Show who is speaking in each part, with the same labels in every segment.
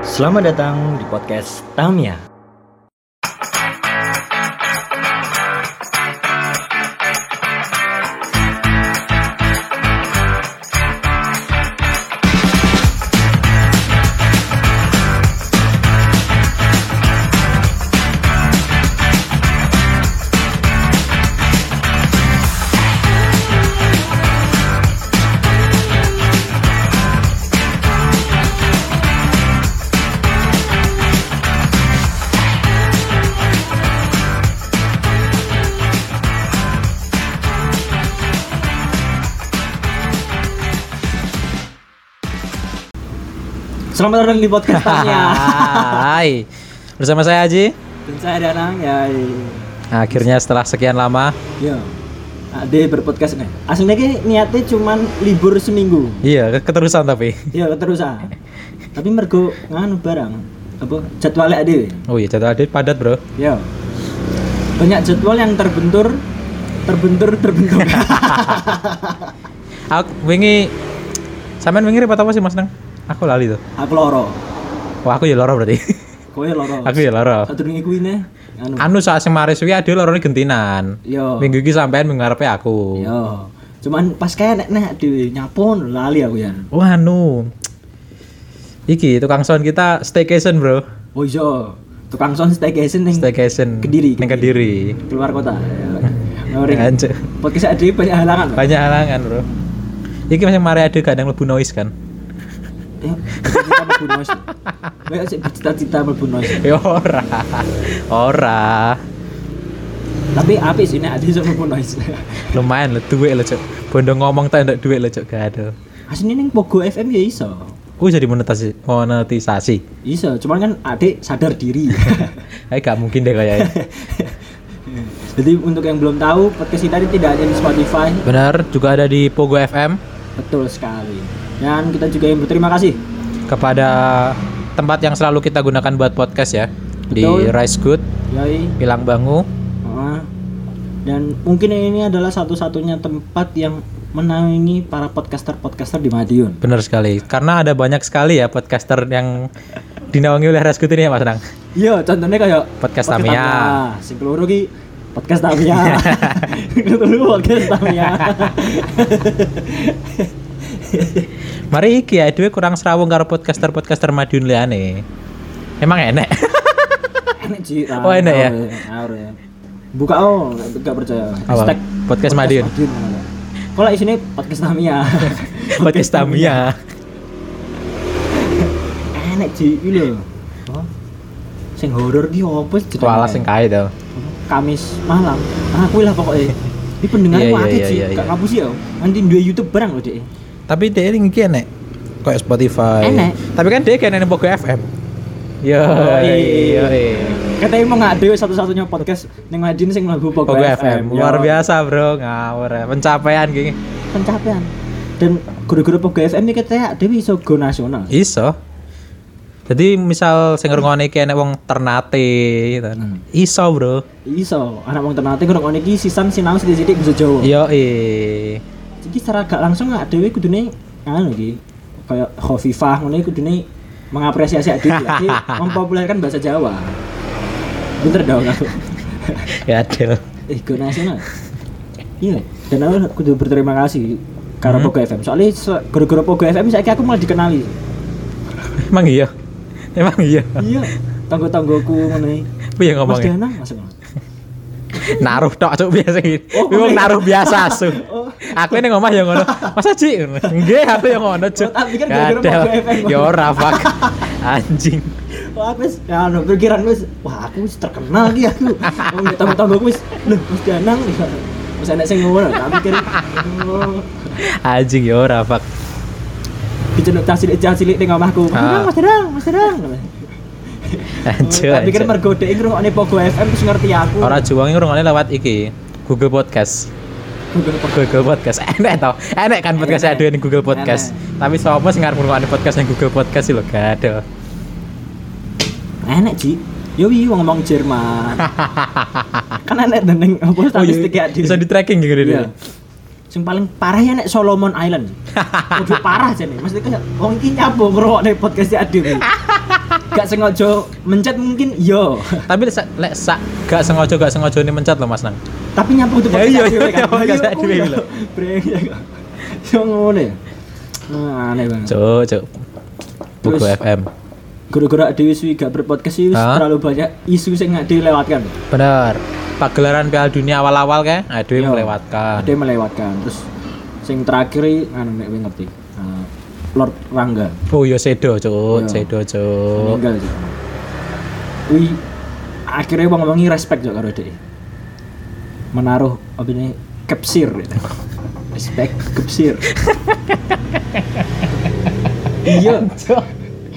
Speaker 1: Selamat datang di podcast Tamia. Selamat datang di podcast Tamia.
Speaker 2: Hai. Bersama saya Haji.
Speaker 1: Dan saya Danang ya.
Speaker 2: Akhirnya setelah sekian lama,
Speaker 1: Yo. Ade berpodcast nih. Aslinya ki niatnya cuman libur seminggu.
Speaker 2: iya keterusan tapi.
Speaker 1: Ya keterusan. Tapi mergo nganu barang apa jadwalnya ya? Ade.
Speaker 2: Oh iya, jadwal update padat, Bro.
Speaker 1: Ya. Banyak jadwal yang terbentur terbentur terbentur.
Speaker 2: Aku wingi sampean wingi repot apa sih, Mas Nang? Aku lali tuh.
Speaker 1: Aku loro.
Speaker 2: Wah, aku ya loro berarti.
Speaker 1: Kowe loro.
Speaker 2: aku ya loro.
Speaker 1: Satu kuwi ne anu.
Speaker 2: Anu saat sing maris kuwi ade lorone gentinan.
Speaker 1: Yo.
Speaker 2: Minggu iki sampean minggu ngarepe aku.
Speaker 1: Yo. Cuman pas kayak nek nek di nyapon lali aku ya.
Speaker 2: Oh, anu. Iki tukang sound kita staycation, Bro.
Speaker 1: Oh iya. Tukang sound staycation ning
Speaker 2: Staycation.
Speaker 1: Kediri,
Speaker 2: Ning Kediri.
Speaker 1: keluar kota. Ngori.
Speaker 2: Anjir.
Speaker 1: Podcast Ade banyak halangan. Pak.
Speaker 2: Banyak halangan, Bro. Iki masih mari ade kadang lebu noise kan.
Speaker 1: Ya, cita-cita mlebu noise. Kowe sik cita-cita mlebu noise.
Speaker 2: Ya ora. Ora.
Speaker 1: Tapi apik sih nek Ade iso mlebu noise.
Speaker 2: Lumayan lho duit lho, Cuk. Bondo ngomong tak ndak duit lho, Cuk. Gak ada.
Speaker 1: Asline ning Pogo FM ya iso.
Speaker 2: Ku jadi monetisasi, monetisasi.
Speaker 1: Iso, cuman kan Ade sadar diri.
Speaker 2: Eh gak mungkin deh kayaknya.
Speaker 1: Jadi untuk yang belum tahu, podcast kita ini tidak hanya di Spotify,
Speaker 2: Benar, juga ada di Pogo FM
Speaker 1: betul sekali. Dan kita juga yang berterima kasih.
Speaker 2: kepada tempat yang selalu kita gunakan buat podcast ya. Di
Speaker 1: Betul.
Speaker 2: Rice Good,
Speaker 1: Yoi.
Speaker 2: Pilang Bangu.
Speaker 1: Heeh. Dan mungkin ini adalah satu-satunya tempat yang menaungi para podcaster-podcaster di Madiun.
Speaker 2: Benar sekali. Karena ada banyak sekali ya podcaster yang dinaungi oleh Rice Good ini ya Mas Nang.
Speaker 1: Iya, contohnya kayak
Speaker 2: Podcast Tamiya.
Speaker 1: Sing keloro ki podcast Tamiya. Dulu podcast Tamiya.
Speaker 2: Mari iki ya, duit kurang serawung karo podcaster-podcaster Madiun liane. Emang enek.
Speaker 1: enak sih. ah,
Speaker 2: Oh, enak ya?
Speaker 1: ngaur ngaur ya. Buka oh, enggak percaya.
Speaker 2: Apa?
Speaker 1: Hashtag
Speaker 2: Podcast Madiun.
Speaker 1: Kalau isinya podcast Tamiya.
Speaker 2: podcast Tamiya.
Speaker 1: enak sih iki lho. Apa? Sing horor ki apa sih jenenge?
Speaker 2: Kuala sing kae to.
Speaker 1: Kamis malam. Ah, kuwi lah pokoknya. Di pendengar
Speaker 2: Iya,
Speaker 1: yeah,
Speaker 2: iya,
Speaker 1: akeh
Speaker 2: iya,
Speaker 1: sih,
Speaker 2: iya,
Speaker 1: gak
Speaker 2: iya.
Speaker 1: ngapusi ya. Nanti duwe YouTube barang lho, Dek.
Speaker 2: Tapi dia ini iki enek kayak Spotify.
Speaker 1: Enek.
Speaker 2: Tapi kan dia kene Pogo FM. Yo.
Speaker 1: Oh, iya, iya.
Speaker 2: Yo.
Speaker 1: Katanya mau nggak dewe satu-satunya podcast yang Madin sing lagu Pogo,
Speaker 2: Pogo FM luar
Speaker 1: Yo,
Speaker 2: biasa, Bro. Ngawur ya. Pencapaian gini.
Speaker 1: Pencapaian. Dan guru-guru Pogo FM ini katanya dewe iso go nasional.
Speaker 2: Iso. Jadi misal sing ngrungokne iki enek wong Ternate gitu.
Speaker 1: Hmm.
Speaker 2: Iso, Bro.
Speaker 1: Iso, anak wong ternate ngrungokno iki sisan sinau sithik-sithik bisa Jawa.
Speaker 2: Yo. eh.
Speaker 1: Jadi secara gak langsung nggak dewe kudune anu iki kayak Khofifah ngene kudune mengapresiasi adik jadi mempopulerkan bahasa Jawa. Bener dong aku.
Speaker 2: Ya Del.
Speaker 1: eh go nasional. Iya, dan aku kudu berterima kasih karena Pogo FM. Soalnya se- gara-gara Pogo FM saya aku malah dikenali.
Speaker 2: Emang iya. Emang iya.
Speaker 1: iya tanggo-tanggoku ngono iki.
Speaker 2: Piye
Speaker 1: Mas
Speaker 2: ngomongnya?
Speaker 1: Diana Mas Diana.
Speaker 2: naruh tok cuk biasa gitu.
Speaker 1: Oh,
Speaker 2: Wih, wong
Speaker 1: iya.
Speaker 2: naruh biasa su.
Speaker 1: Oh.
Speaker 2: Aku ini ngomah yang ngono. Mas Haji, nggih aku yang ngono cuk.
Speaker 1: Oh, tak pikir gara-gara
Speaker 2: Gadel.
Speaker 1: mau FM.
Speaker 2: Ya ora fuck. Anjing.
Speaker 1: Wah, aku wis ya ono pikiran wis wah aku wis terkenal iki aku. Wong di tanggo-tanggoku Oh, iya, wis lho Mas Diana. Wis enak sing ngono tak pikir. Oh,
Speaker 2: Anjing ya ora fuck.
Speaker 1: diceluk cah cilik-cah cilik ning omahku. Mas Danang,
Speaker 2: Ah.
Speaker 1: Mas Danang, Mas Danang.
Speaker 2: Anjing.
Speaker 1: Tak pikir Oh, kan mergo dhek ngrungokne Pogo FM terus ngerti aku.
Speaker 2: Ora juwangi ngrungokne lewat iki. Google Podcast.
Speaker 1: Google Pogo.
Speaker 2: Google Podcast enek to. Enek kan podcast
Speaker 1: Enek.
Speaker 2: aduan Google Podcast. Tapi sapa sing ngarep ngrungokne podcast yang Google Podcast sih lho gadel.
Speaker 1: Enak sih. Yo wi wong ngomong Jerman. kan enak neng apa
Speaker 2: Oh, iya,
Speaker 1: statistik ya
Speaker 2: bisa di tracking gitu
Speaker 1: Iya.
Speaker 2: dia.
Speaker 1: Sing paling parah ya nek Solomon Island. Kudu parah jane. Mesti kayak wong iki nyabo ngrungokne podcast Adim. gak sengaja mencet mungkin iya. yo
Speaker 2: Tapi lek sak- lek sak gak sengaja gak sengaja ini mencet loh Mas Nang.
Speaker 1: tapi nyapu tuh
Speaker 2: Ya, iya, iya, iya, iya, iya,
Speaker 1: aku
Speaker 2: iya,
Speaker 1: ya.
Speaker 2: iya.
Speaker 1: Breng, ya, kok. yo ngono ya Nah, aneh banget
Speaker 2: Cuk, cuk. Buku
Speaker 1: Terus-
Speaker 2: FM.
Speaker 1: gara-gara dewi suwi gak berpodcast sih
Speaker 2: Hah?
Speaker 1: terlalu banyak isu yang gak dilewatkan
Speaker 2: Bener. Pagelaran Piala Dunia awal-awal kan, aduh
Speaker 1: Yo. Iya.
Speaker 2: melewatkan.
Speaker 1: ada yang melewatkan terus sing terakhir ini, anu nek gue ngerti eh, Lord Rangga
Speaker 2: Oh yo sedo
Speaker 1: Yo.
Speaker 2: cuk, sedo cuk.
Speaker 1: Iya. meninggal sih Wi akhirnya bang bangi respect juga karo dia menaruh apa ini kepsir gitu. respect kepsir iya
Speaker 2: Cuk.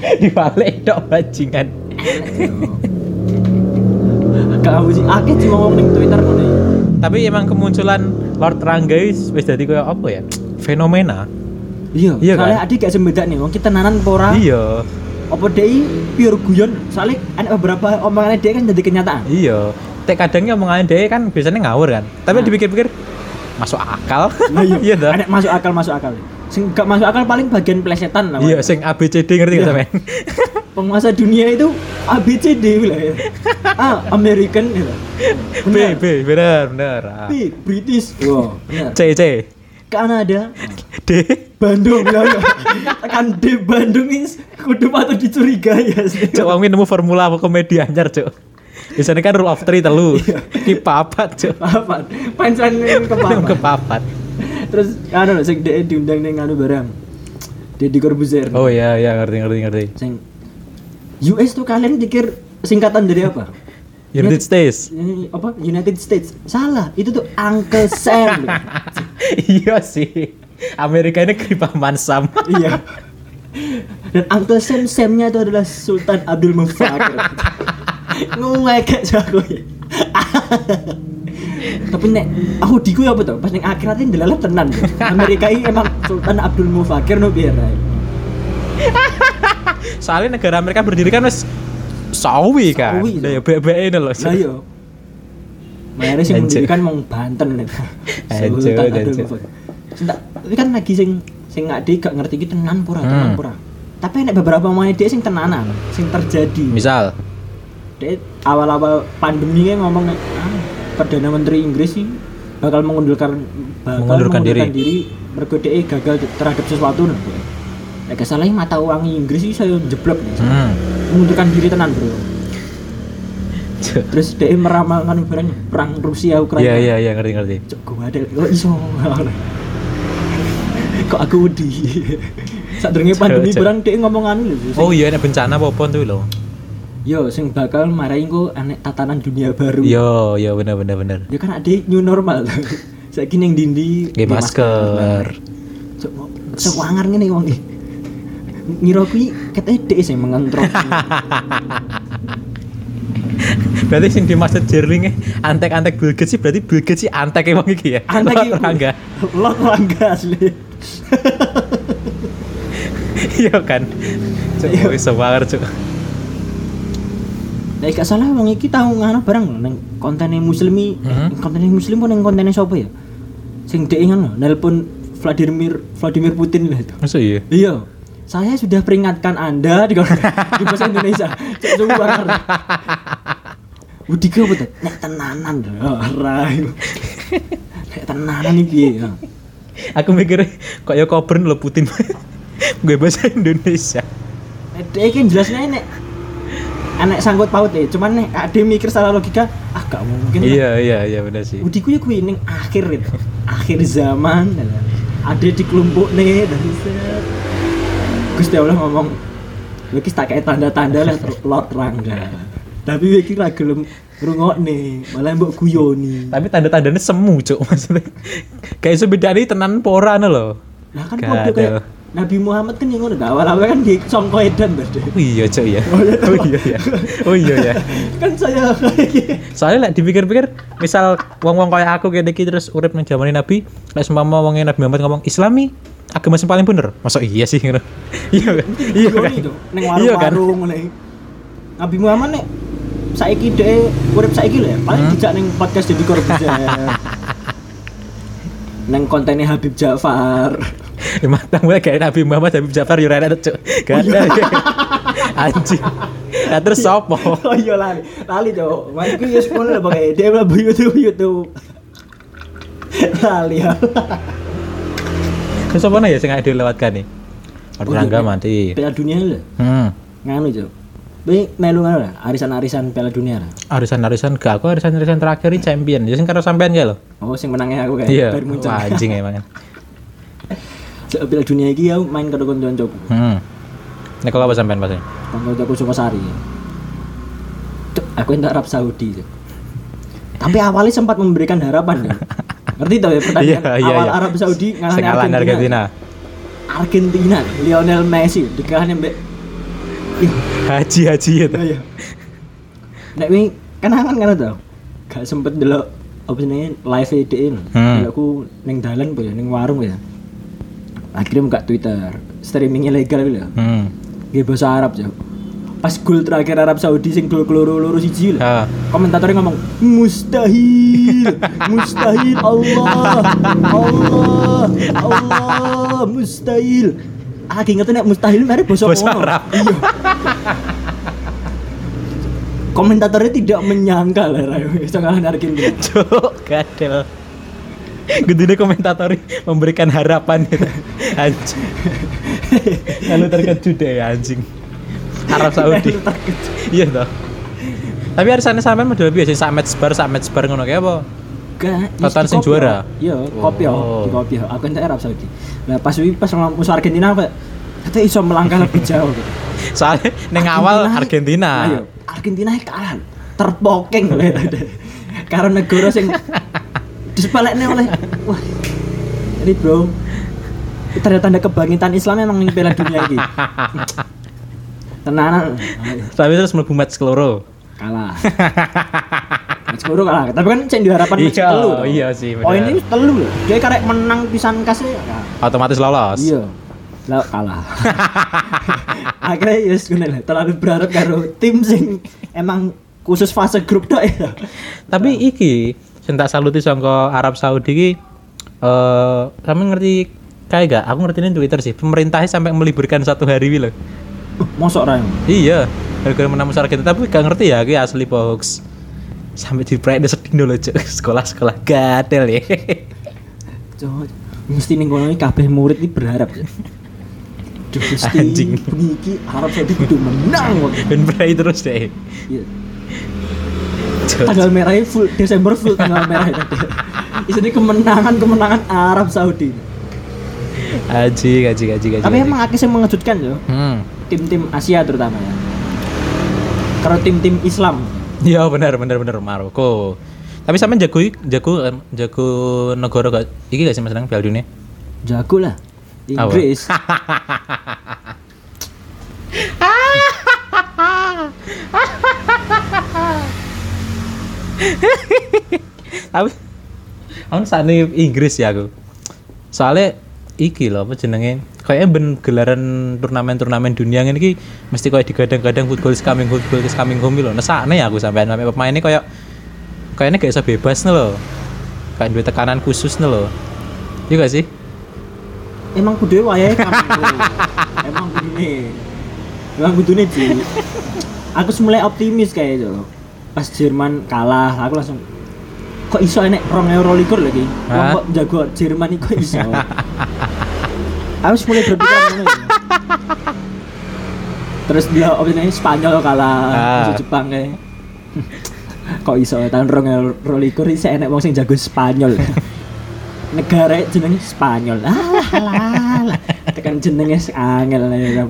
Speaker 2: Dibalik dok bajingan.
Speaker 1: kamu sih akhir cuma ngomong di twitter nih
Speaker 2: Tapi emang kemunculan Lord Rangga wis wis dadi koyo apa ya? Fenomena.
Speaker 1: iya
Speaker 2: Iya kan?
Speaker 1: soalnya adik gak sembeda nih wong kita nanan pora
Speaker 2: Iya.
Speaker 1: apa dia pure guyon soalnya ada beberapa omongannya dia kan jadi kenyataan
Speaker 2: Iya. Tek kadangnya omongan dia kan biasanya ngawur kan. Tapi
Speaker 1: Nah.
Speaker 2: dipikir-pikir masuk akal.
Speaker 1: Nah,
Speaker 2: iya toh.
Speaker 1: Ada masuk akal masuk akal sing gak masuk akal paling bagian plesetan lah
Speaker 2: Iya, sing ABCD ngerti gak
Speaker 1: Iya.
Speaker 2: sampean?
Speaker 1: penguasa dunia itu ABCD lah ya. A American gitu.
Speaker 2: B
Speaker 1: Benar.
Speaker 2: B bener bener. Ah.
Speaker 1: B British. Wow, benar.
Speaker 2: C C
Speaker 1: Kanada.
Speaker 2: D.
Speaker 1: Bandung lah. ya. Tekan D Bandung ini kudu patut dicurigai ya. sih.
Speaker 2: Cuk wong nemu formula komedi anyar, Cuk. Biasanya kan rule of three telu. Ki papat, Cuk.
Speaker 1: Apa? Pancelan yang
Speaker 2: Nemu ke
Speaker 1: kepala.
Speaker 2: papat.
Speaker 1: Terus anu lho, sing dhek diundang ning anu barang. Deddy Corbuzier.
Speaker 2: Oh iya iya ngerti ngerti ngerti.
Speaker 1: Sing US tuh kalian pikir singkatan dari apa?
Speaker 2: United States.
Speaker 1: Ini Eh, apa United States salah itu tuh Uncle Sam
Speaker 2: iya sih. Amerika ini keripaman Sam.
Speaker 1: iya dan Uncle Sam Samnya itu adalah Sultan Abdul Mufakir ngewekek jago ya tapi nek aku diku ya apa tau pas ning akhirat ini delalah tenan ya. Amerika ini emang Sultan Abdul Mufakir no biar ae.
Speaker 2: Soalnya negara Amerika berdiri kan wis sawi kan.
Speaker 1: Sawi, Cuk.
Speaker 2: Lah iya. ya bebek ini loh. Cuk.
Speaker 1: lah yo Mayare sing
Speaker 2: Hancur.
Speaker 1: mendirikan mau Banten nih.
Speaker 2: Hancur,
Speaker 1: Sultan Abdul
Speaker 2: hancur.
Speaker 1: Mufakir. Cinta, tapi kan lagi sing sing nggak dia gak ngerti gitu tenan pura tenan
Speaker 2: Hmm.
Speaker 1: pura. Tapi nek beberapa main dia sing tenanan, sing terjadi.
Speaker 2: Misal,
Speaker 1: Dia awal-awal pandemi kan ngomong nek, ah, perdana menteri Inggris sih bakal mengundurkan bakal
Speaker 2: Mengundurkan diri.
Speaker 1: mergo dia gagal terhadap sesuatu nih. Nek gak salah mata uang Inggris sih saya jeblok nih.
Speaker 2: hmm.
Speaker 1: Mengundurkan diri tenan, Bro.
Speaker 2: Cuk.
Speaker 1: Terus dia meramalkan barangnya perang Rusia Ukraina.
Speaker 2: Iya iya iya ngerti ngerti.
Speaker 1: Cok gua ada kok iso. kok aku di. Saat durunge pandemi
Speaker 2: Cok, cok.
Speaker 1: barang dia ngomong anu lho. sing-
Speaker 2: Oh iya ini bencana apa pun tuh loh.
Speaker 1: Yo sing bakal marahin ku anek tatanan dunia baru.
Speaker 2: Yo yo Iya, bener bener bener.
Speaker 1: Ya kan ada new normal. Saiki ning dindi
Speaker 2: Nggih, masker.
Speaker 1: Cok sewangar ngene wong iki. Ngira kuwi keteke dhek sing mengontrol.
Speaker 2: Berarti sing dimaksud Jerling antek-antek Bill Gates sih berarti Bill Gates sih antek emang iki ya.
Speaker 1: Antek
Speaker 2: Lord Rangga.
Speaker 1: Lot rangga asli.
Speaker 2: Iya kan. Cuk
Speaker 1: Iya.
Speaker 2: wis sebar cuk.
Speaker 1: Nah, gak salah wong iki tahu ngono barang lho nang kontene muslimi,
Speaker 2: Mhm.
Speaker 1: neng kontene muslim pun nang kontene sapa ya? Sing dhek ngono nelpon Vladimir Vladimir Putin lah itu.
Speaker 2: Masa iya?
Speaker 1: Iya. Saya sudah peringatkan Anda di, di bahasa Indonesia. Cek semua. Budi ke betul. Nek tenanan lho. Ora. Nek tenanan iki piye ya?
Speaker 2: Aku mikir kok ya Coburn lo Putin. Gue bahasa Indonesia.
Speaker 1: Nek dhek iki jelasnya nek anak sangkut paut ya, cuman nek ade mikir salah logika, ah gak mungkin. lah.
Speaker 2: Iya iya iya bener sih.
Speaker 1: Budiku ya kuwi ning akhir itu. Akhir zaman. dan Ada di kelompok nih dan set. Gusti Allah ngomong Wiki tak kayak tanda-tanda lah lot rangga. ya." Tapi Wiki ra gelem nih, malah mbok guyoni.
Speaker 2: Tapi tanda-tandanya semu cuk maksudnya. Kayak iso bedani tenan anu apa ora ngono lho.
Speaker 1: Lah kan
Speaker 2: Gatel.
Speaker 1: padha kayak Nabi Muhammad kan yang ngono dah, awal-awal kan di songko edan berarti.
Speaker 2: Oh iya cuk ya.
Speaker 1: Oh, iya,
Speaker 2: Oh iya ya. Oh iya ya.
Speaker 1: kan saya kayak gitu. gini.
Speaker 2: soalnya lek dipikir-pikir misal wong-wong kayak aku kayak iki terus urip nang zaman Nabi lek seumpama wong Nabi Muhammad ngomong Islami agama sing paling bener masa iya sih ngono iya kan iya kan
Speaker 1: Guyoni tuh, ning
Speaker 2: iya kan
Speaker 1: gitu. warung-warung ngene. Nabi Muhammad nek saiki dhek urip saiki lho ya, paling
Speaker 2: Hmm?
Speaker 1: dijak ning podcast ya. jadi korban. neng kontennya Habib Ja'far
Speaker 2: matang mulai kayak Nabi Muhammad Habib Jafar Yurana tuh cuk. Gak ada. Anjing. Nah terus sopo?
Speaker 1: oh Oh, iya. iya lali lali cowok mari ku yes pun lah pakai dia lah YouTube YouTube lali ya
Speaker 2: Terus sopo nah ya sing ada dilewatkan nih? Order Rangga
Speaker 1: Iya,
Speaker 2: mati.
Speaker 1: Piala Dunia lah
Speaker 2: Hmm.
Speaker 1: nganu cowok tapi melu nganu lah arisan-arisan Piala Dunia lah
Speaker 2: Arisan-arisan gak aku arisan-arisan terakhir ini champion. Ya sing karo sampean ya lo.
Speaker 1: oh sing menangnya aku kayak
Speaker 2: Iya.
Speaker 1: Bayern Munchen.
Speaker 2: Wah, Anjing emang.
Speaker 1: Sejak Piala Dunia iki aku main karo kanca-kancaku
Speaker 2: Hmm. Nek kalau apa sampean pasane?
Speaker 1: kanca-kancaku Sukosari Cuk, aku entar Arab Saudi Cuk. tapi awalnya sempat memberikan harapan kan ngerti tau ya
Speaker 2: Iya,
Speaker 1: pertandingan awal Arab Saudi ngalahin Argentina,
Speaker 2: Argentina. Argentina.
Speaker 1: Argentina Lionel Messi dikalahin mbak
Speaker 2: Haji haji ya itu.
Speaker 1: Iya. Nek wingi kenangan kan tau. Gak sempet delok apa jenenge live E DE.
Speaker 2: Hmm.
Speaker 1: Hmm. Aku ning dalan apa ya ning warung apa ya. Akhirnya buka Twitter, gitu streaming ilegal lho.
Speaker 2: Hmm.
Speaker 1: Nggih bahasa Arab, Cok. Pas gol terakhir Arab Saudi sing gol keloro loro siji lho.
Speaker 2: Ha.
Speaker 1: Komentatornya ngomong mustahil, mustahil Allah, Allah, Allah, mustahil. Ah, ingetin nek mustahil mari bosok
Speaker 2: Basa Arab.
Speaker 1: Iya. Komentatornya tidak menyangka lah Ray, bisa ngalahin Argentina.
Speaker 2: Cuk, gadel. Gedine komentatori memberikan harapan gitu. Anjing. Lalu terkejut deh anjing. Arab Saudi. iya toh. Tapi harus aneh sampean model biasa sak match bar sak match bar ngono kayak apa?
Speaker 1: Gak,
Speaker 2: Totan
Speaker 1: di
Speaker 2: sing
Speaker 1: Kopio.
Speaker 2: juara?
Speaker 1: Iya, kopio,
Speaker 2: Oh.
Speaker 1: di kopio. Aku entek Arab Saudi. Nah, pas wi- pas ngelawan musuh Argentina aku kita iso melangkah lebih jauh.
Speaker 2: Soalnya neng awal
Speaker 1: Ayo,
Speaker 2: Argentina.
Speaker 1: Argentina kalah. Terpokeng oleh tadi. Karena negara sing disepelekne oleh wah. Ini bro, tanda-tanda kebangkitan Islam emang ning piala dunia iki. Tenanan
Speaker 2: Tapi terus mlebu match keloro.
Speaker 1: kalah. Match keloro kalah. Tapi kan sing diharapkan match
Speaker 2: Iya,
Speaker 1: telu. to.
Speaker 2: iya sih, bener.
Speaker 1: Poinnya telu lho. Dia karek menang pisan kasih. ya.
Speaker 2: Otomatis lolos.
Speaker 1: Iya. Lah kalah. Akhirnya ya yes, lah terlalu berharap karo tim sing emang khusus fase grup tok ya.
Speaker 2: Tapi iki sing tak saluti sangka Arab Saudi iki eh sampe ngerti kayak gak? Aku ngerti ini Twitter sih. Pemerintahnya sampai meliburkan satu hari wi lho.
Speaker 1: Uh, Mosok ra.
Speaker 2: Iya, gara-gara menang musuh Argentina tapi gak ngerti ya iki asli apa hoax. Sampai di pride sedih dulu cuk. Sekolah-sekolah gadel ya.
Speaker 1: Cok, mesti ning kono iki kabeh murid iki berharap. Cok. Duh, Gusti,
Speaker 2: Anjing.
Speaker 1: bengi iki Arab Saudi kudu menang. Wak.
Speaker 2: Ben pride terus deh.
Speaker 1: Iya.
Speaker 2: Cuk.
Speaker 1: Tanggal merahnya full Desember full tanggal merah ya, tadi. Isinya kemenangan-kemenangan Arab Saudi.
Speaker 2: Aji, aji, aji, aji.
Speaker 1: Tapi emang akeh yang mengejutkan loh.
Speaker 2: Hmm.
Speaker 1: tim-tim Asia terutama ya. Kalau tim-tim Islam,
Speaker 2: Iya benar benar benar Maroko. Tapi sampean jago i- jago em, jago negara gak iki gak sih Mas Nang Piala Dunia?
Speaker 1: jago lah. Inggris,
Speaker 2: Tapi aku sani Inggris ya aku. Soalnya iki loh apa jenenge? Kayaknya ben gelaran turnamen-turnamen dunia ngene iki mesti kayak digadang-gadang football is coming football is coming home loh. Nesane ya aku sampean sampe pemainnya kayak kayaknya gak bisa bebas nih loh. Kayak duwe tekanan khusus nih loh. Iya gak sih?
Speaker 1: emang kudu wayahe kamu. emang kudune. Emang kudune sih. Aku mulai optimis kayak itu. Pas Jerman kalah, aku langsung kok iso enek rong euro likur lagi. Wong
Speaker 2: Hah?
Speaker 1: kok jago Jerman iki kok iso. aku mulai berpikir ngono. ya. Terus dia optimis Spanyol kalah,
Speaker 2: Ah.
Speaker 1: terus Jepang kayak kok iso tahun rong euro likur isih enek wong sing jago Spanyol. negara jenenge Spanyol Ah, alah alah alah. tekan jenenge si angel lah ya.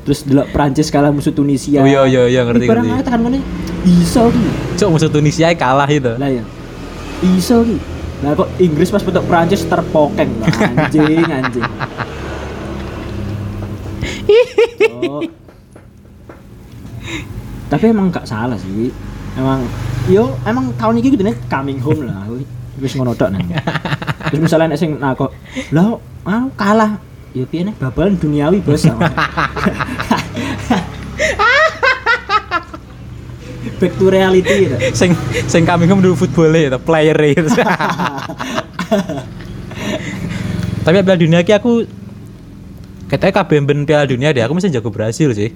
Speaker 1: terus delok Prancis kalah musuh Tunisia
Speaker 2: Oh, iya, iya, iya, ngerti,
Speaker 1: Ini barang
Speaker 2: ngerti.
Speaker 1: ae tekan ngene iso ki
Speaker 2: Cuk musuh Tunisia kalah itu.
Speaker 1: lah ya iso ki lah kok Inggris pas bentuk Prancis terpokeng lah anjing anjing oh. tapi emang gak salah sih Wi. emang yo emang tahun ini gitu nih coming home lah Wi. wis ngono tok nang terus misalnya nek sing nako lah ah, kalah ya piye nih babalan duniawi bos back to reality gitu.
Speaker 2: sing sing e, kami kan dulu football ya, player itu. Tapi Piala Dunia ki aku katanya kabeh ben Piala Dunia deh, aku mesti jago Brasil sih.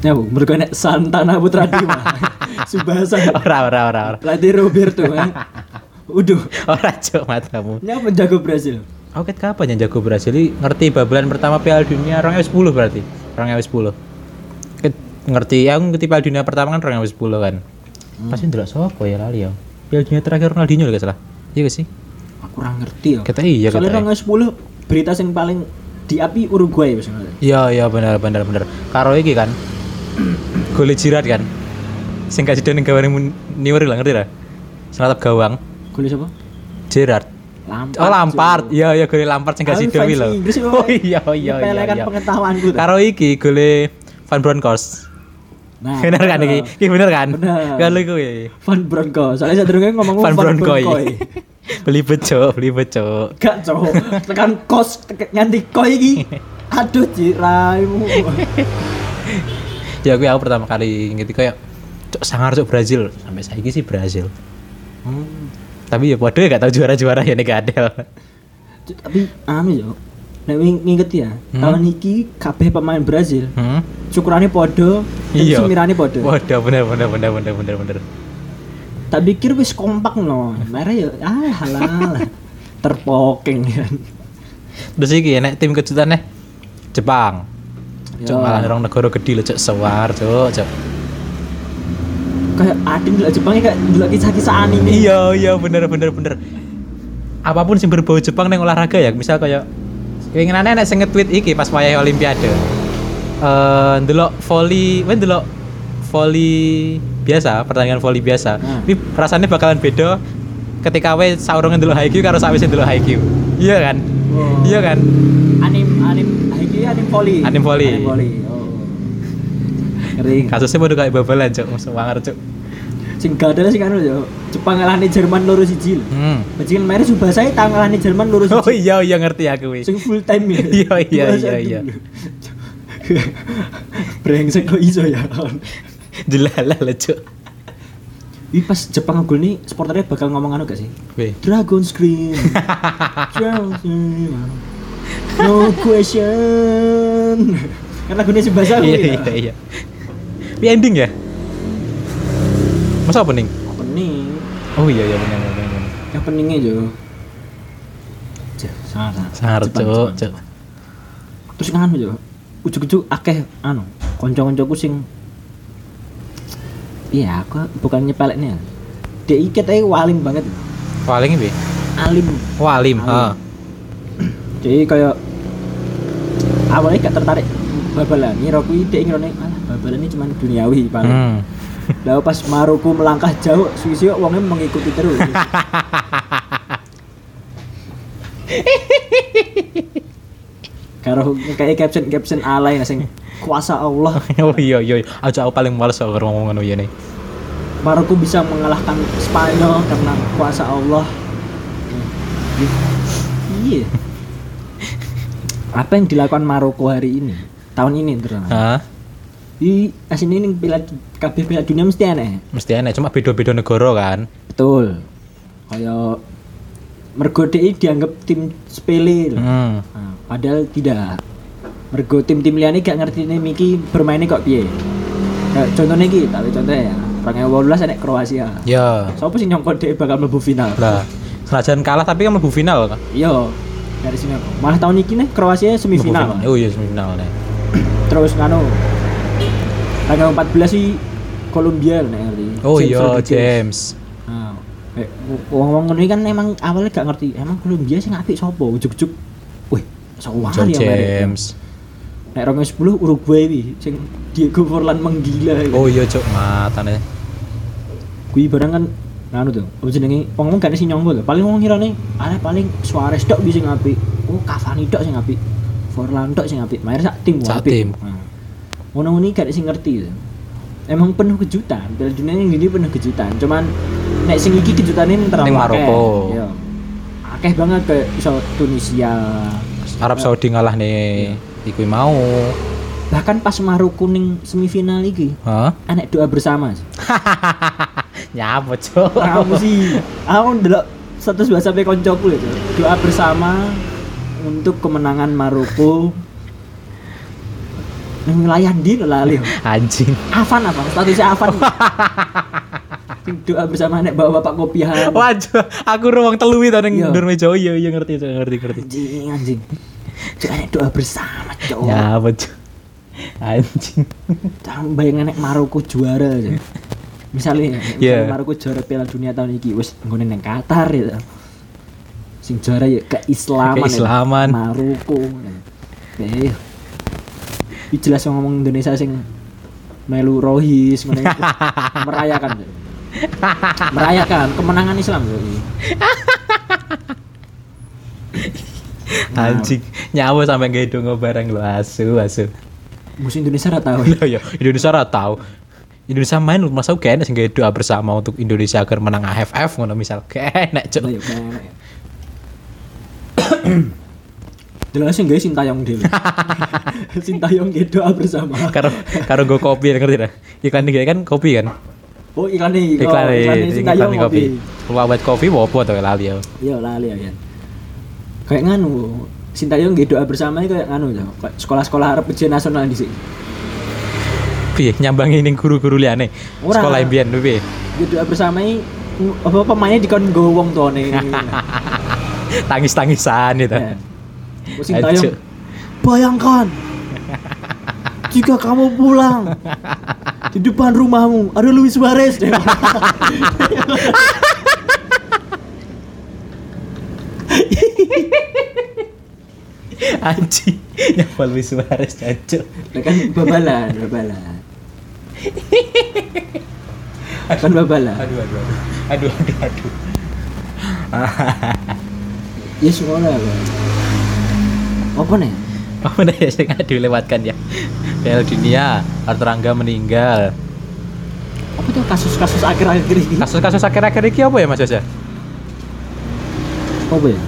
Speaker 1: Ya, Bu, mergo nek Santana Putra Bima. Subasa.
Speaker 2: Ora ora ora ora.
Speaker 1: Pelatih Roberto kan. Uduh,
Speaker 2: Ora cok matamu.
Speaker 1: ini penjago Brazil.
Speaker 2: Aku ket kapan yang jago Brasil Ini ngerti babalan pertama Piala Dunia 2010 berarti. 2010. Ket ngerti ya aku ngerti Piala Dunia pertama kan 2010 kan. Pasti ndelok sapa ya lali ya. Piala Dunia terakhir Ronaldinho lho gak salah. Iya gak sih?
Speaker 1: Aku kurang ngerti ya.
Speaker 2: Kata iya
Speaker 1: Soalnya
Speaker 2: kata.
Speaker 1: tanggal 10 berita yang paling diapi Uruguay wis ngono.
Speaker 2: Iya iya benar benar benar. Karo iki kan. Gole jirat kan. Sing kajido ning gawang niwer lah ngerti ra? Sing natap gawang.
Speaker 1: Gol sapa?
Speaker 2: Jirat.
Speaker 1: Lampard.
Speaker 2: Oh Lampard. Iya iya gole Lampard sing
Speaker 1: Aku
Speaker 2: kajido
Speaker 1: fans
Speaker 2: kuwi lho.
Speaker 1: Inggris, Pak.
Speaker 2: Oh iya iya iya.
Speaker 1: Menyepelekan
Speaker 2: iya.
Speaker 1: pengetahuanku. tuh.
Speaker 2: Karo iki gole Van Bronckhorst.
Speaker 1: Nah,
Speaker 2: bener kan iki? Iki bener kan?
Speaker 1: Bener.
Speaker 2: Kan lu kuwi.
Speaker 1: Van Bronco. Soalnya sadurunge ngomong
Speaker 2: Van Bronckhorst. Beli bejo, beli bejo.
Speaker 1: Gak cowok. Tekan kos tekan nganti koi iki. Aduh jiraimu.
Speaker 2: Ya kuwi aku pertama kali ngerti kayak cok sangar cok Brazil. Sampai saiki sih Brazil.
Speaker 1: Hmm.
Speaker 2: Tapi ya padahal gak tau juara-juara ya nek ada.
Speaker 1: Cuk, Tapi ame yo. Nek wing- nginget ya,
Speaker 2: Hmm.
Speaker 1: tahun iki kabeh pemain Brazil
Speaker 2: Hmm?
Speaker 1: cukurane padha, tapi
Speaker 2: Iya.
Speaker 1: semirane padha.
Speaker 2: Waduh, bener bener bener bener bener bener.
Speaker 1: tak pikir wis kompak no mereka ya ah halah terpokeng kan
Speaker 2: Terus iki nek tim kejutan nih Jepang.
Speaker 1: Ya.
Speaker 2: Cok malah orang negara gede lho cok sewar cok cok.
Speaker 1: kayak ading dulu Jepangnya kayak dulu kisah-kisah anime
Speaker 2: Iya iya bener bener bener. Apapun sing berbau Jepang neng olahraga ya, misal kayak keinginannya nek sing nge-tweet iki pas wayahe olimpiade. Eh ndelok volley, weh ndelok volley biasa, pertandingan volley biasa.
Speaker 1: Hmm.
Speaker 2: Ini rasanya bakalan beda ketika we saurungan ndelok Haikyuu karo sawise ndelok Haikyuu. Iya kan?
Speaker 1: Wow.
Speaker 2: Iya kan?
Speaker 1: anim anim ini anim poli
Speaker 2: Anim volley.
Speaker 1: anim volley, oh ngeri
Speaker 2: Kasusnya padha kayak babalan cok, musuh wanger cok.
Speaker 1: sing gadalnya sing anu yo Jepang ngalahne Jerman loro siji lho
Speaker 2: Hmm.
Speaker 1: bajingan mereka sudah saya tak ngalahne Jerman loro
Speaker 2: Oh
Speaker 1: siji
Speaker 2: iya iya ngerti aku weh.
Speaker 1: sing full time ya
Speaker 2: Iya, iya,
Speaker 1: Bahasa
Speaker 2: iya,
Speaker 1: itu
Speaker 2: iya.
Speaker 1: lho. brengsek kok iso ya
Speaker 2: Jelalah lah cok.
Speaker 1: Ih pas Jepang ngegol nih, supporternya bakal ngomong anu gak sih?
Speaker 2: Weh.
Speaker 1: Dragon Scream. Dragon Scream. No question. Kan lagunya si bahasa
Speaker 2: iya iya iya tapi ending ya masa opening
Speaker 1: Opening.
Speaker 2: oh iya iya benar benar benar
Speaker 1: Yang peningnya jo. Jeh, sangar,
Speaker 2: sangar
Speaker 1: Jepang,
Speaker 2: cok
Speaker 1: Jepang.
Speaker 2: cok
Speaker 1: Terus nganu jo. Ujuk-ujuk akeh anu, kanca-kancaku sing Iya, aku bukan nyepeleknya. Dia iket ae walim banget.
Speaker 2: paling ini
Speaker 1: Alim Walim.
Speaker 2: walim ha
Speaker 1: jadi kayak awalnya gak tertarik babalan ini aku ide ngerone alah babalan ini cuma duniawi paling
Speaker 2: hmm.
Speaker 1: lalu pas Maroko melangkah jauh Swiss uangnya mengikuti terus karo kayak caption caption alay nah, sing kuasa Allah
Speaker 2: oh iya iya iya. aja aku paling males kalau ngomong ngono ya nih
Speaker 1: Maroko bisa mengalahkan Spanyol karena kuasa Allah iya apa yang dilakukan Maroko hari ini tahun ini terutama
Speaker 2: ha
Speaker 1: di asini ini piala kabeh piala dunia mesti ya? aneh
Speaker 2: mesti enak cuma beda beda negara kan
Speaker 1: betul kayak mergo DI dianggap tim sepele lho.
Speaker 2: hmm.
Speaker 1: Nah, padahal tidak mergo tim-tim liane gak ngerti ini Miki bermainnya kok piye Kayak contohnya iki tapi contohnya ya orangnya walulas enek Kroasia
Speaker 2: ya
Speaker 1: siapa sih nyongkok DI bakal mlebu final
Speaker 2: lah senajan kalah tapi kan mlebu final kan
Speaker 1: iya dari sini malah tahun ini nih Kroasia
Speaker 2: Mlebu
Speaker 1: semifinal
Speaker 2: oh iya semifinal nih
Speaker 1: terus ngano tanggal 14 sih Kolombia nek ngerti
Speaker 2: oh
Speaker 1: James
Speaker 2: iya
Speaker 1: Rodriguez.
Speaker 2: James
Speaker 1: Nah, eh, wong-wong ngono iki kan emang awalnya gak ngerti, emang Kolombia sing apik sapa ujuk-ujuk. Wih, sawah
Speaker 2: John
Speaker 1: ya mereka.
Speaker 2: James
Speaker 1: Nek 2010 Uruguay iki sing Diego Forlan menggila.
Speaker 2: oh iya cok matane
Speaker 1: Kuwi barang kan nganu tuh, apa jenenge wong-wong gak ada sing nyongko lho. Paling wong ngirane ada paling Suarez tok bisa sing apik. Oh, Cavani tok sing apik. Forlan tok sing apik. Main sak tim wae
Speaker 2: Sak
Speaker 1: apik.
Speaker 2: tim.
Speaker 1: Nah, Ngono-ngono iki gak ada sing ngerti. lho. Emang penuh kejutan, Piala Dunia yang ini penuh kejutan. Cuman nek sing iki kejutane ning terlalu
Speaker 2: Ning
Speaker 1: akeh.
Speaker 2: Maroko.
Speaker 1: Iya. Akeh banget kayak iso Tunisia.
Speaker 2: Arab Saudi ngalah nih ikui mau
Speaker 1: Bahkan pas Maroko ning semifinal iki,
Speaker 2: Hah?
Speaker 1: anak doa bersama.
Speaker 2: nyapa cok
Speaker 1: Kamu sih, aku ndelok status WhatsApp koncoku itu doa bersama untuk kemenangan Maroko Nang wilayah di lho lali yo.
Speaker 2: anjing
Speaker 1: Avan apa? Statusnya Avan. Sing doa bersama nek bawa bapak kopiahan.
Speaker 2: waduh aku ruang telu itu neng
Speaker 1: Iya.
Speaker 2: dur meja Oh, iya iya ngerti Cuk, ngerti ngerti
Speaker 1: Anjing anjing. Cuk nek doa bersama cuk.
Speaker 2: ya apa Cuk? anjing
Speaker 1: Cara bayangin nek Maroko juara aja. Misalnya,
Speaker 2: Yeah.
Speaker 1: misalnya Maroko juara Piala Dunia tahun ini, wes nggone neng Qatar ya. Sing juara ya keislaman. ya.
Speaker 2: Keislaman.
Speaker 1: Maroko. Eh. Ini jelas yang ngomong Indonesia sing melu rohis ngono iku. merayakan. ya. Merayakan kemenangan Islam ya.
Speaker 2: anjing nyawa sampai gak hidung barang lo asu asu
Speaker 1: Musuh Indonesia ora tahu.
Speaker 2: Lah ya, Indoneasa ora tau. Indonesia main lu masa gak enak sing gawe doa bersama untuk Indonesia agar menang AFF ngono misal. Gak enak, Cuk.
Speaker 1: Lah, ya, kayak- Jelas iya. sing gawe sintayong dhewe. sintayong ge doa bersama.
Speaker 2: Karo karo go kopi ngerti dah. Iklan iki kan kopi kan.
Speaker 1: Oh iklan nih,
Speaker 2: Iya, Iklan
Speaker 1: oh,
Speaker 2: iki,
Speaker 1: nih
Speaker 2: iklan
Speaker 1: sintayong
Speaker 2: iki
Speaker 1: kopi.
Speaker 2: kopi. Kalau buat kopi mau apa to lali ya.
Speaker 1: Iya lali ya. Yan. Kayak nganu, sintayong ge doa bersama iki kayak nganu ya. Kayak sekolah-sekolah Arab ujian nasional di sini.
Speaker 2: Piye nyambangi ning guru-guru liyane.
Speaker 1: Ora.
Speaker 2: Sekolah mbiyen piye.
Speaker 1: Ge doa bersama iki apa pemainnya dikon go wong tuane.
Speaker 2: Tangis-tangisan itu.
Speaker 1: Ya. Kok sintayong
Speaker 2: Ajuk.
Speaker 1: bayangkan jika kamu pulang di depan rumahmu ada Luis Suarez kan
Speaker 2: Anjing. Nyapa Luis Suarez jancuk.
Speaker 1: Lah kan babalan, babalan. kan babalan.
Speaker 2: Aduh aduh aduh. Aduh aduh aduh.
Speaker 1: Ya semua lah. Bang. Apa nih?
Speaker 2: Apa ya nih yang sengaja dilewatkan ya? Piala Dunia, Arturangga meninggal.
Speaker 1: Apa tuh kasus-kasus akhir-akhir ini?
Speaker 2: Kasus-kasus akhir-akhir ini apa ya Mas Yos ya?
Speaker 1: Apa ya?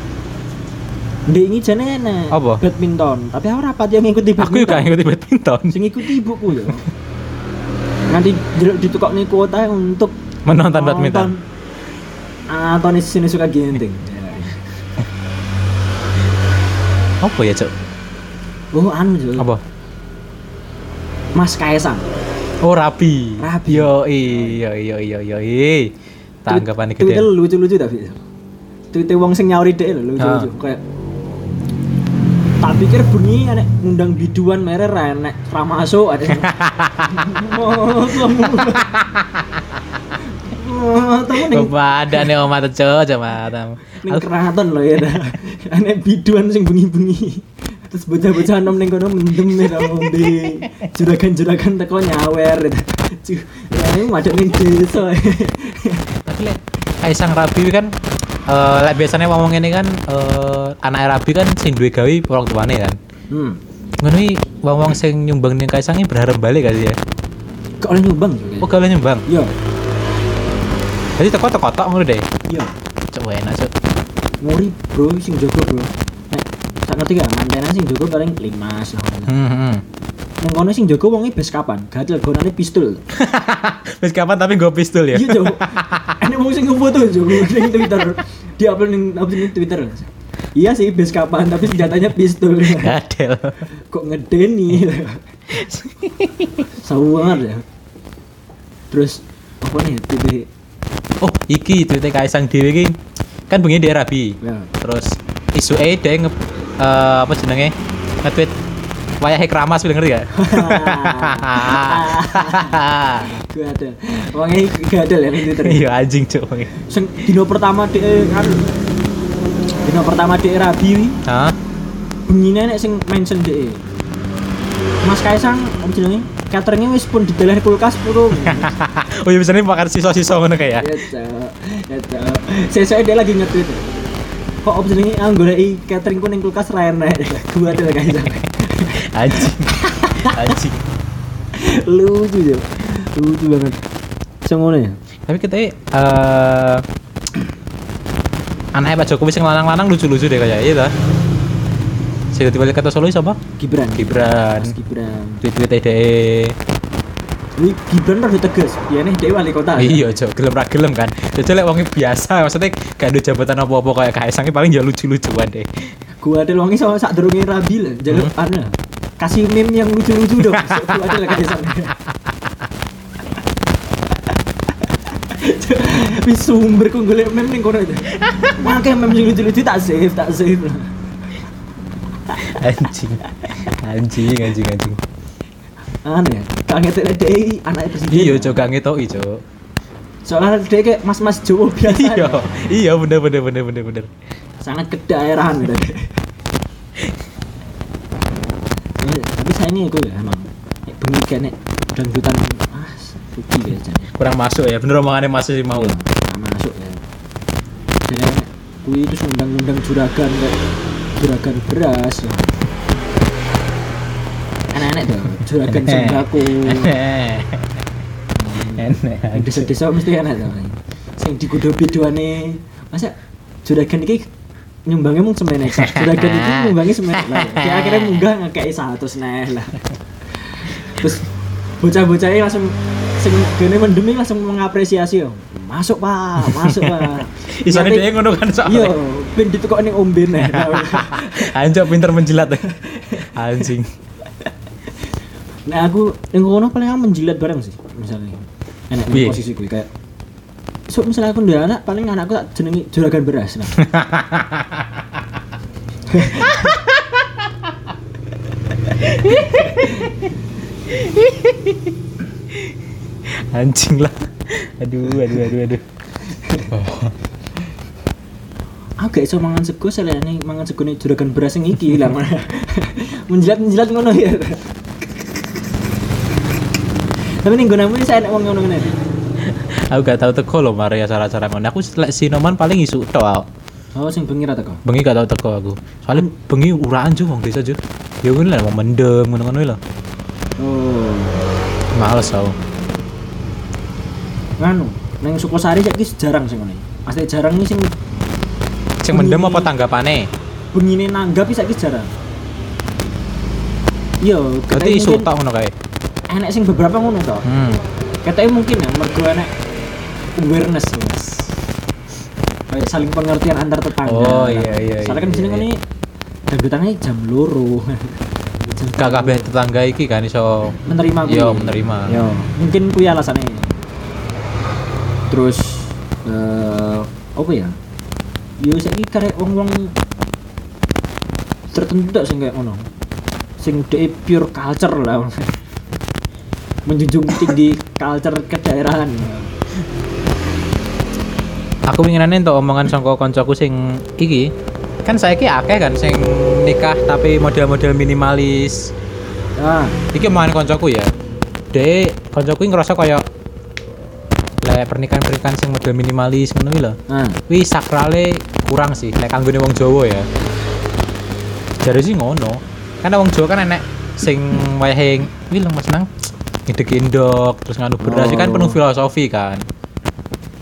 Speaker 1: Ndek ini jane enak.
Speaker 2: Apa?
Speaker 1: Badminton. Tapi aku rapat yang ngikuti badminton.
Speaker 2: Aku juga ngikuti badminton
Speaker 1: Sing ngikuti ibuku ya. Nanti jeruk ditukokne kuota untuk Ah,
Speaker 2: Menonton badminton.
Speaker 1: Anthony Sinisuka Ginting.
Speaker 2: Apa ya Cuk?
Speaker 1: Oh anu Jo.
Speaker 2: Apa?
Speaker 1: Mas Kaisang.
Speaker 2: Oh rapi
Speaker 1: Rabi.
Speaker 2: Yo iya iya iya iya Tanggapan
Speaker 1: Tweet- tweetnya
Speaker 2: gede
Speaker 1: lucu-lucu tapi. Tweetnya wong sing nyauri dhek lho lucu-lucu
Speaker 2: Ah.
Speaker 1: kayak tak pikir bunyi anek ngundang biduan mere ra enek ra masuk ada. Oh, kamu. Oh, tamu ning
Speaker 2: Kepada nih Om Ato Cuk Cuma
Speaker 1: ning keraton lho ya. Anek biduan sing bunyi-bunyi. Terus bocah-bocah nom ning kono mendem ya tau ndi. Juragan-juragan teko nyawer. Cuk, ya ini madep ning desa.
Speaker 2: Tapi lek Kaisang Rabi kan eh lek biasanya ngomong ini kan eh anak Rabi kan sing duwe gawe orang tuane kan
Speaker 1: Hmm.
Speaker 2: Ngono iki wong-wong sing nyumbang ning Kaisang ini berharap balik kan ya
Speaker 1: Kok oleh nyumbang? Jo, kayaknya.
Speaker 2: Oh kalau nyumbang
Speaker 1: Iya,
Speaker 2: Jadi teko-teko ngono deh
Speaker 1: iya.
Speaker 2: Cuk enak Cuk
Speaker 1: Nguri bro, sing jaga bro. Nek sak ngerti gak mantena sing jaga paling limas lah.
Speaker 2: Hmm, hmm.
Speaker 1: Nang kono sing jaga wonge bes kapan? Gatel gonane pistol.
Speaker 2: Wis kapan tapi gue pistol ya?
Speaker 1: Iya Jo. Ene wong sing ngefoto Jo ning Twitter. Dia upload ning upload ning Twitter. Iya sih bes kapan tapi senjatanya pistol.
Speaker 2: Gadel.
Speaker 1: Kok ngedeni. Sawar ya. Terus apa nih tipe
Speaker 2: Oh, iki tweet Kaisang dhewe iki. Kan bengi dia rabi.
Speaker 1: ya.
Speaker 2: Terus isu E dia nge eh, apa jenenge? Nge-tweet wayahe kramas bilang ngerti gak?
Speaker 1: Gue ada. Wonge gatel ya ning Twitter.
Speaker 2: Iya anjing cuk. bengi.
Speaker 1: sing dino pertama dek kan dino pertama dek rabi wi
Speaker 2: Hah?
Speaker 1: bengine nek sing mention dek Mas Kaisang om jenenge cateringnya wis pun dideleh kulkas purung
Speaker 2: Oh iya biasanya makan sisa-sisa ngono
Speaker 1: ya
Speaker 2: kayak ya.
Speaker 1: cok ya cok sesuai dia lagi nge-tweet kok om jenenge ah goleki cateringku ning kulkas ra enak ya, gua del Kaisang
Speaker 2: Anjing. Anjing.
Speaker 1: lucu yo lucu banget semuanya ya
Speaker 2: Tapi kita eh anaknya Pak Jokowi sing lanang-lanang lucu-lucu deh kayak iya ta. Sing dibalik kata Solo siapa?
Speaker 1: Gibran
Speaker 2: Gibran.
Speaker 1: Mas Gibran
Speaker 2: Tweet-tweet deh.
Speaker 1: Ini Gibran rada tegas. Ya nih dia wali kota.
Speaker 2: Iya, Cok. Gelem ra gelem kan. Jadi lek wonge biasa, maksudnya gak ada jabatan apa-apa kayak Kaisang ini paling ya lucu-lucuan deh.
Speaker 1: Gua ada longi sama sak durunge rabi lah, jaluk
Speaker 2: Hmm.
Speaker 1: ana. Kasih meme yang lucu-lucu dong. Sok Gua ada lah kaisang. Wis sumber ku golek meme ning kono itu. Makanya meme yang lucu-lucu tak save, tak save.
Speaker 2: Anjing. Anjing, anjing, anjing.
Speaker 1: Aneh. Kangen tele DI anaknya presiden.
Speaker 2: Iya, Cok, gak ngetoki, Cok.
Speaker 1: Soalnya dia kayak mas-mas Jawa biasa.
Speaker 2: Iya, iya bener bener bener bener bener.
Speaker 1: sangat kedaerahan gitu. Ya, tapi saya ini gue ya emang Nek bengi kayak dangdutan ah rugi ya jadi
Speaker 2: Kurang masuk ya. Bener omongannya masuk sih mau.
Speaker 1: nggak masuk ya jadi nek gue itu ngundang-ngundang juragan kayak juragan beras ya anak-anak tuh juragan sembako
Speaker 2: Enak.
Speaker 1: yang desa-desa mesti enak tuh yang di kudo biduane masa juragan ini nyumbangnya mung semen ekor juragan itu nyumbangnya semen ekor dia akhirnya munggah ngekei satu seneh lah terus bocah-bocahnya langsung sing gene mendemi langsung mengapresiasi yo masuk pak masuk pak
Speaker 2: Isane
Speaker 1: Nanti-
Speaker 2: dhewe ngono kan soalnya.
Speaker 1: iya ben ditekok ning ombe neh
Speaker 2: Anjing pinter menjilat. Anjing.
Speaker 1: Nah aku yang kono paling aku menjilat bareng sih misalnya. Enak
Speaker 2: Piye?
Speaker 1: di posisi gue kayak. So misalnya aku udah anak paling anakku tak jenengi juragan beras. Nah.
Speaker 2: Anjing lah. Aduh, aduh, aduh, aduh.
Speaker 1: aku gak iso mangan sego selene mangan sego nih juragan beras yang iki lah. menjilat menjilat ngono ya. Tapi nih gue ini saya enak uang ngono ngene.
Speaker 2: Aku gak tahu teko loh Maria cara-cara ngono. Aku lek sinoman paling isu tok. aku.
Speaker 1: Oh sing bengi rata kok.
Speaker 2: Bengi gak tahu teko aku. Soalnya bengi uraan ju wong desa ju. Ya ngono lah mau mendem ngono-ngono lho.
Speaker 1: Oh.
Speaker 2: Males aku.
Speaker 1: Nganu, neng Sukosari saiki jarang sing ngene. Pasti jarang nih sing
Speaker 2: Sing mendem apa tanggapane?
Speaker 1: bengine nanggapi saiki jarang. Iya,
Speaker 2: Berarti
Speaker 1: ketemu
Speaker 2: isu
Speaker 1: mungkin-
Speaker 2: tok ngono kae.
Speaker 1: enek sing beberapa ngono to.
Speaker 2: Hmm.
Speaker 1: Katanya mungkin ya, mergo enek awareness mas. Kayak saling pengertian antar tetangga.
Speaker 2: Oh, iya, iya,
Speaker 1: Soalnya kan
Speaker 2: iya,
Speaker 1: di sini
Speaker 2: iya.
Speaker 1: kan ini dangdutannya jam loro. Jam
Speaker 2: Gak kabeh tetangga iki kan iso
Speaker 1: menerima gue.
Speaker 2: Yo, menerima.
Speaker 1: Yo, mungkin kuwi alasannya. Terus eh apa ya? Yo saiki karek wong-wong tertentu tak sing kayak ngono. Sing dhek pure culture lah. Menjunjung tinggi culture kedaerahan.
Speaker 2: aku pinginane entuk omongan sangka koncoku sing iki kan saiki akeh kan sing nikah tapi model-model minimalis
Speaker 1: Ah,
Speaker 2: iki omongan koncoku ya de koncoku iki ngerasa kaya lek pernikahan pernikahan sing model minimalis ngono kuwi lho
Speaker 1: ah.
Speaker 2: kuwi sakrale kurang sih lek kanggone wong Jawa ya jare sih ngono karena wong Jawa kan enek sing wayahe kuwi lho Mas Nang ngidek indok terus nganu beras iki kan
Speaker 1: Oh.
Speaker 2: penuh filosofi kan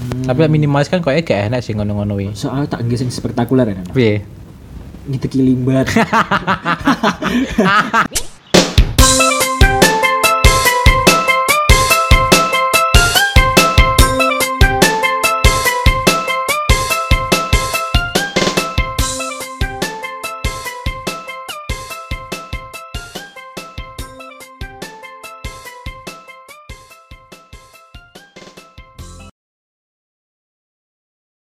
Speaker 1: Hmm.
Speaker 2: tapi lek minimalis kan kayaknya gak enak sih ngono-ngono kuwi
Speaker 1: soal tak nggih sing spektakuler ya.
Speaker 2: piye
Speaker 1: Ngiteki limbat.